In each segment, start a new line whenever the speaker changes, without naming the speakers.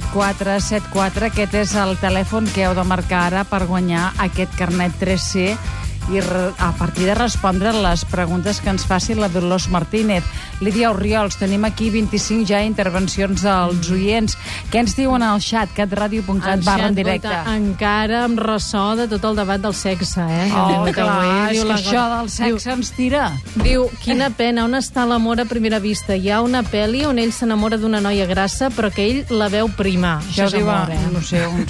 3207474. Aquest és el telèfon que heu de marcar ara per guanyar aquest carnet 3C i re- a partir de respondre les preguntes que ens faci la Dolors Martínez. Lídia Orriols, tenim aquí 25 ja intervencions dels oients. Què ens diuen al xat? catradio.cat
Mm. El
barra en
xat
directe.
vota Encara amb ressò de tot el debat del sexe, eh? que hem
Oh,
tingut
clar,
avui.
és
Diu
que
la-
això del sexe ens tira.
Diu, diu, quina pena, on està l'amor a primera vista? Hi ha una pel·li on ell s'enamora d'una noia grassa, però que ell la veu prima.
Això
Això, és
diu, a-
amor, eh?
no sé, un,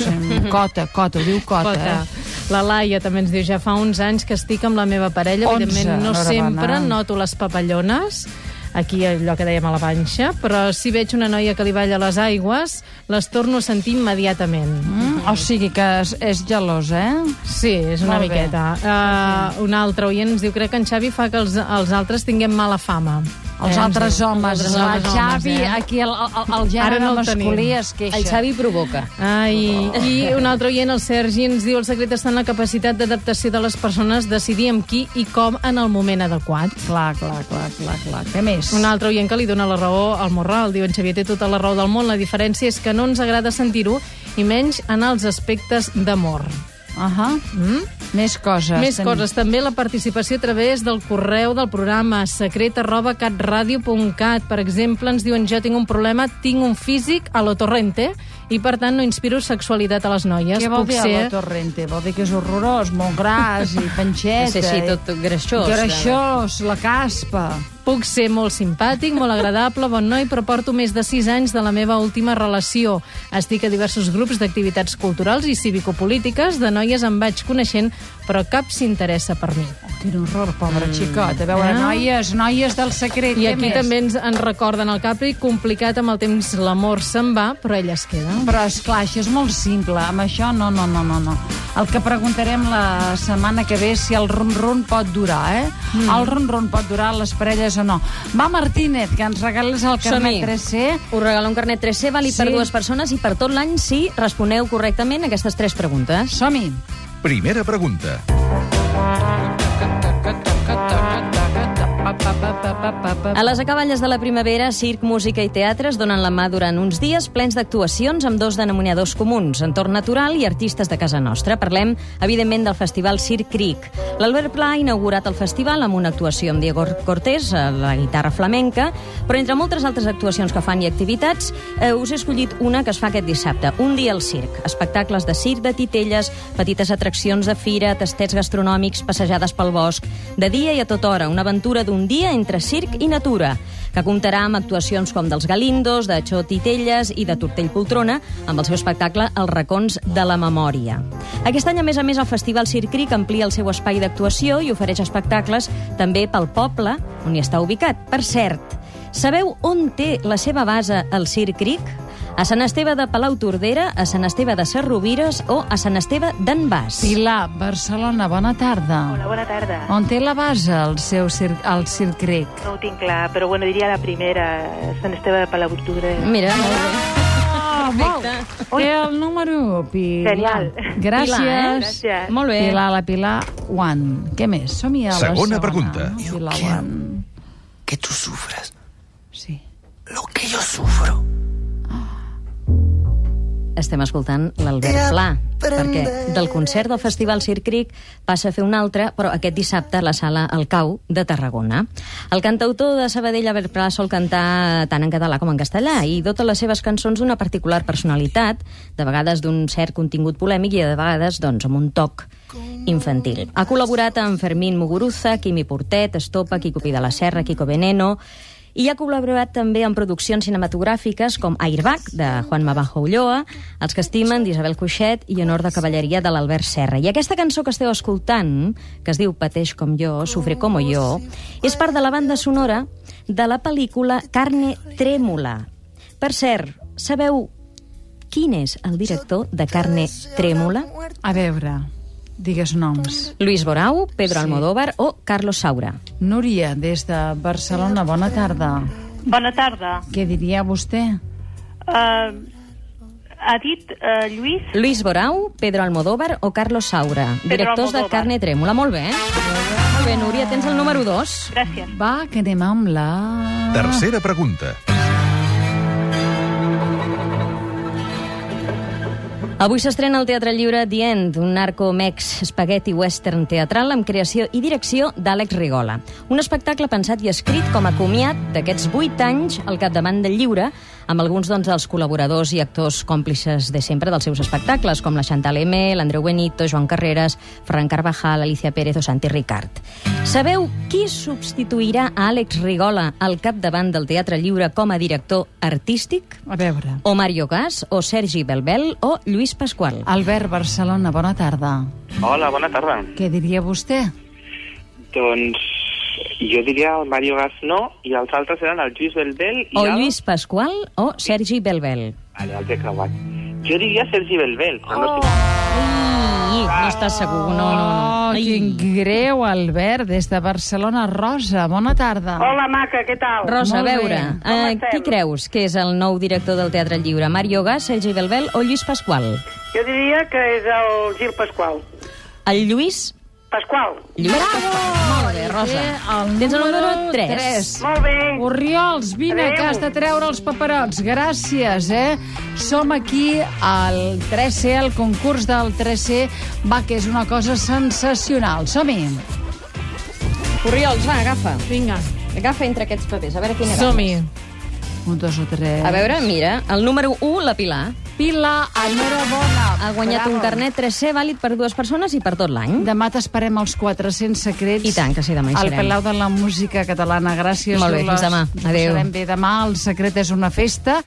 un, cota, cota, ho diu cota. eh?
Cota.
cota.
La Laia també ens diu, ja fa 11 anys que estic amb la meva parella,
11,
evidentment no
enhorabona.
sempre noto les papallones, aquí allò que dèiem a la panxa, però si veig una noia que li balla les aigües, les torno a sentir immediatament.
Mm, o sigui que és, és gelós, eh?
Sí, és una
Molt bé.
miqueta. Uh, un altre oient ens diu, crec que en Xavi fa que els, els altres tinguem mala fama.
Eh, Els
ens
altres
diu.
homes,
Els
el
altres
Xavi,
homes, eh?
aquí el, el, el gènere
Ara no el
masculí
tenim.
es queixa.
El Xavi provoca.
Ai, i un altre oient, el Sergi, ens diu el secret està en la capacitat d'adaptació de les persones, decidir amb qui i com en el moment adequat.
Clar, clar, clar, clar, clar. Què més?
Un altre oient que li dona la raó al Morral, diu en Xavier té tota la raó del món, la diferència és que no ens agrada sentir-ho i menys en els aspectes d'amor.
Uh -huh.
Mm?
Més coses.
Més
Tenim-
coses, també la participació a través del correu del programa secret arroba catradio.cat. Per exemple, ens diuen jo tinc un problema, tinc un físic a lo torrente i per tant no inspiro sexualitat a les noies.
Què vol
Puc
dir
ser-
ser... la torrente? Vol dir que és horrorós, molt gras i panxeta.
No sé, així, tot, tot greixós.
Greixós, la caspa.
eh? Puc ser molt simpàtic, molt agradable, bon noi, però porto més de 6 anys de la meva última relació. Estic a diversos grups d'activitats culturals i cívico-polítiques, de noies em vaig coneixent, però cap s'interessa per mi.
Oh, quin horror, pobre mm. xicot. A veure,
Ah.
noies, noies del secret.
I
què
aquí
més?
també ens, ens recorden el Capri, complicat amb el temps l'amor se'n va, però ella es queda.
Però, és clar, això és molt simple. Amb això, no, no, no, no, no. El que preguntarem la setmana que ve és si el ron-ron pot durar, eh? Mm. El ron-ron pot durar a les parelles o no. Va, Martínez, que ens regales el
Som-hi.
carnet 3C.
Us regalo un carnet 3C, vàlid per
Sí.
dues persones i per tot l'any si responeu correctament aquestes tres preguntes.
Som-hi.
Primera pregunta.
A les acaballes de la primavera, circ, música i teatre es donen la mà durant uns dies plens d'actuacions amb dos denominadors comuns, entorn natural i artistes de casa nostra. Parlem, evidentment, del festival Circ Creek. L'Albert Pla ha inaugurat el festival amb una actuació amb Diego Cortés, a la guitarra flamenca, però entre moltes altres actuacions que fan i activitats, eh, us he escollit una que es fa aquest dissabte, Un dia al circ. Espectacles de circ, de titelles, petites atraccions de fira, tastets gastronòmics, passejades pel bosc, de dia i a tota hora, una aventura d'un dia entre circ i natura, que comptarà amb actuacions com dels Galindos, de Xó Titelles i de Tortell Poltrona, amb el seu espectacle Els racons de la memòria. Aquest any, a més a més, el Festival Circric amplia el seu espai d'actuació i ofereix espectacles també pel poble on hi està ubicat. Per cert, sabeu on té la seva base el Circric? A Sant Esteve de Palau Tordera, a Sant Esteve de Serrovires o a Sant Esteve d'en Bas.
Pilar, Barcelona, bona tarda.
Hola, bona tarda.
On té la base el seu cir el Circ Creek?
No ho tinc clar, però bueno, diria la primera, Sant Esteve de Palau Tordera.
Mira, molt bé.
Oh,
Ah,
wow. Té el número 1, Pilar.
Genial.
Gràcies.
Pilar, eh?
Gràcies.
Molt bé.
Pilar, la Pilar, Juan. Què més? Som-hi a la
Segona
segona.
pregunta.
no? Pilar, Juan.
que tú sufras
Sí.
lo que yo sufro.
Estem escoltant l'Albert Pla, perquè del concert del Festival Circ Creek passa a fer un altre, però aquest dissabte a la sala El Cau de Tarragona. El cantautor de Sabadell, Albert Pla, sol cantar tant en català com en castellà i dota les seves cançons d'una particular personalitat, de vegades d'un cert contingut polèmic i de vegades doncs, amb un toc infantil. Ha col·laborat amb Fermín Muguruza, Quimi Portet, Estopa, Quico Pi de la Serra, Quico Veneno, i ha col·laborat també en produccions cinematogràfiques com Airbag, de Juan Mabajo Ulloa, Els que estimen, d'Isabel Cuixet i Honor de Cavalleria, de l'Albert Serra. I aquesta cançó que esteu escoltant, que es diu Pateix com jo, Sufre com jo, és part de la banda sonora de la pel·lícula Carne Trèmula. Per cert, sabeu quin és el director de Carne Trèmula?
A veure, digues noms.
Luis Borau, Pedro Almodóvar o Carlos Saura?
Núria, des de Barcelona, bona tarda.
Bona tarda.
Què diria vostè?
Uh, ha dit uh, Lluís?
Luis Borau, Pedro Almodóvar o Carlos Saura,
Pedro
directors de
Almodóvar.
Carne Trèmula. Molt bé. Molt bé, Núria, tens el número 2.
Gràcies.
Va, que anem amb la...
Tercera pregunta.
Avui s'estrena al Teatre Lliure The End, un narco-mex spaghetti western teatral amb creació i direcció d'Àlex Rigola. Un espectacle pensat i escrit com a comiat d'aquests vuit anys al capdavant del Lliure, amb alguns doncs, dels col·laboradors i actors còmplices de sempre dels seus espectacles, com la Chantal M, l'Andreu Benito, Joan Carreras, Ferran Carvajal, Alicia Pérez o Santi Ricard. Sabeu qui substituirà a Àlex Rigola al capdavant del Teatre Lliure com a director artístic?
A veure.
o Mario Gas, o Sergi Belbel, o Lluís Pasqual.
Albert Barcelona, bona tarda.
Hola, bona tarda.
Què diria vostè?
Doncs jo diria el Mario Gas no, i els altres eren el Lluís Belbel i
O
el...
Lluís Pasqual o Sergi Belbel.
Vale, els he creuat. Jo diria Sergi Belbel, però
Oh.
no estic...
Ai, no estàs segur, no, no, no.
Oh, quin greu, Albert, des de Barcelona. Rosa, bona tarda.
Hola, maca, què tal?
Rosa, a
Molt bé.
veure,
Com
eh,
estem?
qui creus que és el nou director del Teatre Lliure? Mario Gas, Sergi Belbel o Lluís Pasqual?
Jo diria que és el Gil Pasqual.
El Lluís...
Pasqual,
Lluís Pasqual. Molt bé, Rosa. Tens el número 3.
3.
molt bé.
Oriols, vine,
Adéu.
que has de treure els paperots. Gràcies, eh? Som aquí al 3C, al concurs del 3C. Va, que és una cosa sensacional. Som-hi.
Oriols, va, agafa.
Vinga,
Agafa entre aquests papers, a veure quin
som-hi.
Un, dos o tres.
A veure, mira, el número 1, la Pilar,
Pilar, enhorabona.
ha guanyat
Bravo.
un carnet 3C vàlid per dues persones i per tot l'any.
Demà t'esperem els 400 secrets.
I tant, que sí, demà hi
Al
serem.
Palau de la Música Catalana. Gràcies,
Molt bé,
Dolors.
fins demà.
Ens
Adéu.
passarem Bé, demà el secret és una festa.